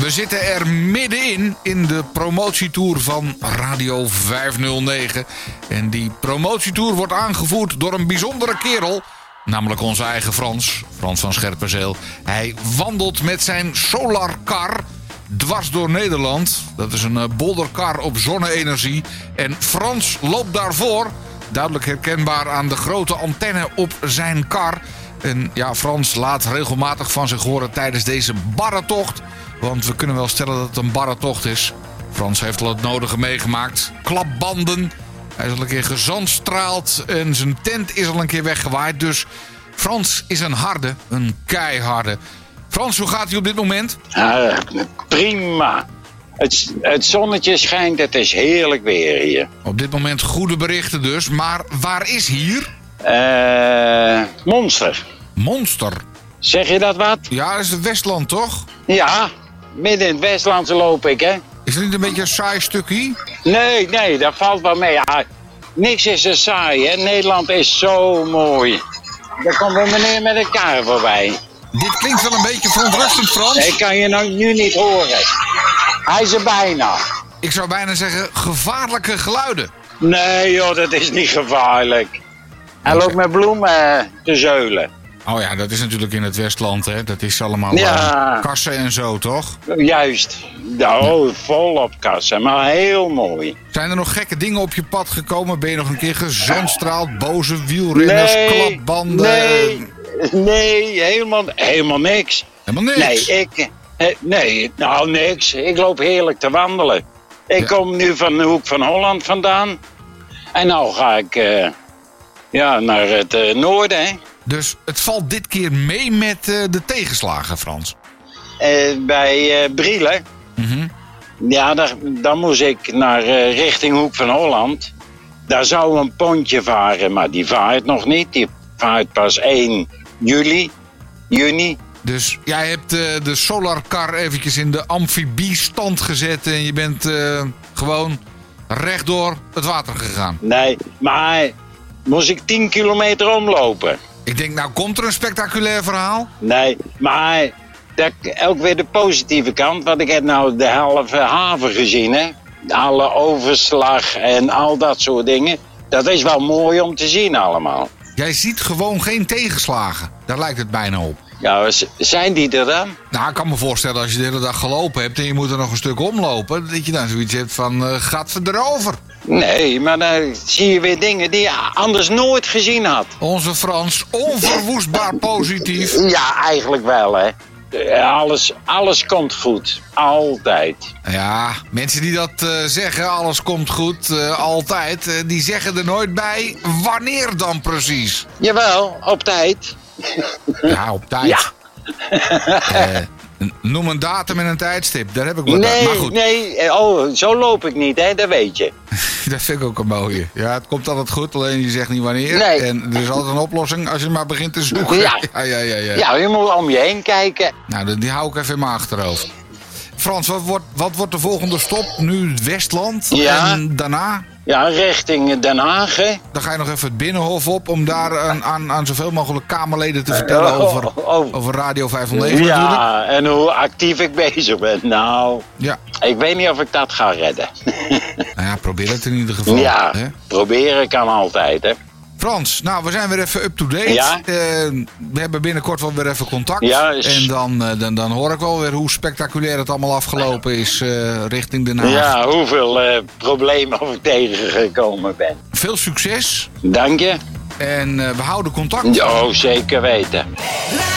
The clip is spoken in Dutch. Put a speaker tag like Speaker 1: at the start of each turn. Speaker 1: We zitten er middenin in de promotietour van Radio 509. En die promotietour wordt aangevoerd door een bijzondere kerel. Namelijk onze eigen Frans, Frans van Scherpenzeel. Hij wandelt met zijn solarkar dwars door Nederland. Dat is een eh, bolderkar op zonne-energie. En Frans loopt daarvoor. Duidelijk herkenbaar aan de grote antenne op zijn kar. En ja, Frans laat regelmatig van zich horen tijdens deze barre tocht. Want we kunnen wel stellen dat het een barre tocht is. Frans heeft al het nodige meegemaakt. Klapbanden. Hij is al een keer gezandstraald. En zijn tent is al een keer weggewaaid. Dus Frans is een harde, een keiharde. Frans, hoe gaat hij op dit moment?
Speaker 2: Ah, prima. Het, het zonnetje schijnt, het is heerlijk weer hier.
Speaker 1: Op dit moment goede berichten dus, maar waar is hier?
Speaker 2: Eh, monster.
Speaker 1: Monster.
Speaker 2: Zeg je dat wat?
Speaker 1: Ja, dat is het Westland toch?
Speaker 2: Ja, midden in het Westlandse loop ik, hè?
Speaker 1: Is dat niet een beetje een saai stukje?
Speaker 2: Nee, nee, dat valt wel mee. Ja, niks is er saai, hè? Nederland is zo mooi. Daar komt een meneer met een kar voorbij.
Speaker 1: Dit klinkt wel een beetje verontrustend,
Speaker 2: Ik
Speaker 1: Frans.
Speaker 2: kan je nou nu niet horen. Hij is er bijna.
Speaker 1: Ik zou bijna zeggen gevaarlijke geluiden.
Speaker 2: Nee, joh, dat is niet gevaarlijk. Hij loopt met bloemen eh, te zeulen.
Speaker 1: Oh ja, dat is natuurlijk in het Westland, hè. Dat is allemaal
Speaker 2: Ja.
Speaker 1: eh, kassen en zo, toch?
Speaker 2: Juist. Nou, volop kassen, maar heel mooi.
Speaker 1: Zijn er nog gekke dingen op je pad gekomen? Ben je nog een keer gezandstraald? Boze wielrenners, klapbanden?
Speaker 2: nee, nee, helemaal, helemaal niks.
Speaker 1: Helemaal niks.
Speaker 2: Nee, ik, eh, nee, nou niks. Ik loop heerlijk te wandelen. Ik
Speaker 1: Ja.
Speaker 2: kom nu van de hoek van Holland vandaan. En nou ga ik eh, ja, naar het eh, noorden. hè.
Speaker 1: Dus het valt dit keer mee met eh, de tegenslagen, Frans.
Speaker 2: Eh, bij eh Brielen.
Speaker 1: Mhm.
Speaker 2: Ja, daar, dan moest ik naar eh, richting Hoek van Holland. Daar zou een pontje varen, maar die vaart nog niet. Die vaart pas 1 juli, juni.
Speaker 1: Dus jij hebt eh, de solarcar eventjes in de amfibiestand gezet en je bent eh, gewoon rechtdoor het water gegaan.
Speaker 2: Nee, maar moest ik 10 kilometer omlopen.
Speaker 1: Ik denk, nou komt er een spectaculair verhaal?
Speaker 2: Nee, maar dat, ook weer de positieve kant. Want ik heb nou de halve haven gezien, hè. Alle overslag en al dat soort dingen. Dat is wel mooi om te zien allemaal.
Speaker 1: Jij ziet gewoon geen tegenslagen. Daar lijkt het bijna op.
Speaker 2: Ja, Nou, z- zijn die er dan?
Speaker 1: Nou, ik kan me voorstellen als je de hele dag gelopen hebt en je moet er nog een stuk omlopen, dat je dan zoiets hebt van, eh gaat we erover.
Speaker 2: Nee, maar dan zie je weer dingen die je anders nooit gezien had.
Speaker 1: Onze Frans, onverwoestbaar positief.
Speaker 2: Ja, eigenlijk wel, hè. Eh, Alles, alles komt goed. Altijd.
Speaker 1: Nou Ja, mensen die dat eh, zeggen, alles komt goed, eh, altijd, eh, die zeggen er nooit bij wanneer dan precies.
Speaker 2: Jawel, op tijd.
Speaker 1: Ja, op tijd.
Speaker 2: Ja.
Speaker 1: Eh, n- noem een datum en een tijdstip, daar heb ik wat aan. Maar
Speaker 2: Nee,
Speaker 1: goed,
Speaker 2: nee. eh, Oh, zo loop ik niet, hè. Dat weet je.
Speaker 1: dat vind ik ook een mooie. Ja, het komt altijd goed, alleen je zegt niet wanneer.
Speaker 2: Nee.
Speaker 1: En er is altijd een oplossing als je maar begint te zoeken.
Speaker 2: Ja.
Speaker 1: ja, ja, ja. ja.
Speaker 2: Ja, je moet om je heen kijken.
Speaker 1: Nou, die- die hou ik even in mijn achterhoofd. Frans, wat wordt, wat wordt de volgende stop? Nu Westland
Speaker 2: Ja.
Speaker 1: en daarna?
Speaker 2: Ja, richting Den Haag, hè.
Speaker 1: Dan ga je nog even het Binnenhof op om daar aan, aan, aan zoveel mogelijk Kamerleden te vertellen
Speaker 2: Oh,
Speaker 1: over,
Speaker 2: oh.
Speaker 1: over Radio 509 natuurlijk.
Speaker 2: Ja, en hoe actief ik bezig ben. Nou,
Speaker 1: Ja.
Speaker 2: ik weet niet of ik dat ga redden.
Speaker 1: Nou ja, probeer het in ieder geval.
Speaker 2: Ja,
Speaker 1: hè?
Speaker 2: proberen kan altijd, hè.
Speaker 1: Frans, nou, we zijn weer even up-to-date.
Speaker 2: Ja.
Speaker 1: Eh, we hebben binnenkort wel weer even contact.
Speaker 2: Ja, is-
Speaker 1: En dan, eh, dan, dan hoor ik wel weer hoe spectaculair het allemaal afgelopen is eh, richting Den Haag.
Speaker 2: Ja, hoeveel eh, problemen of ik tegengekomen ben.
Speaker 1: Veel succes
Speaker 2: Dank je.
Speaker 1: en eh, we houden contact.
Speaker 2: Oh, zeker weten.
Speaker 3: La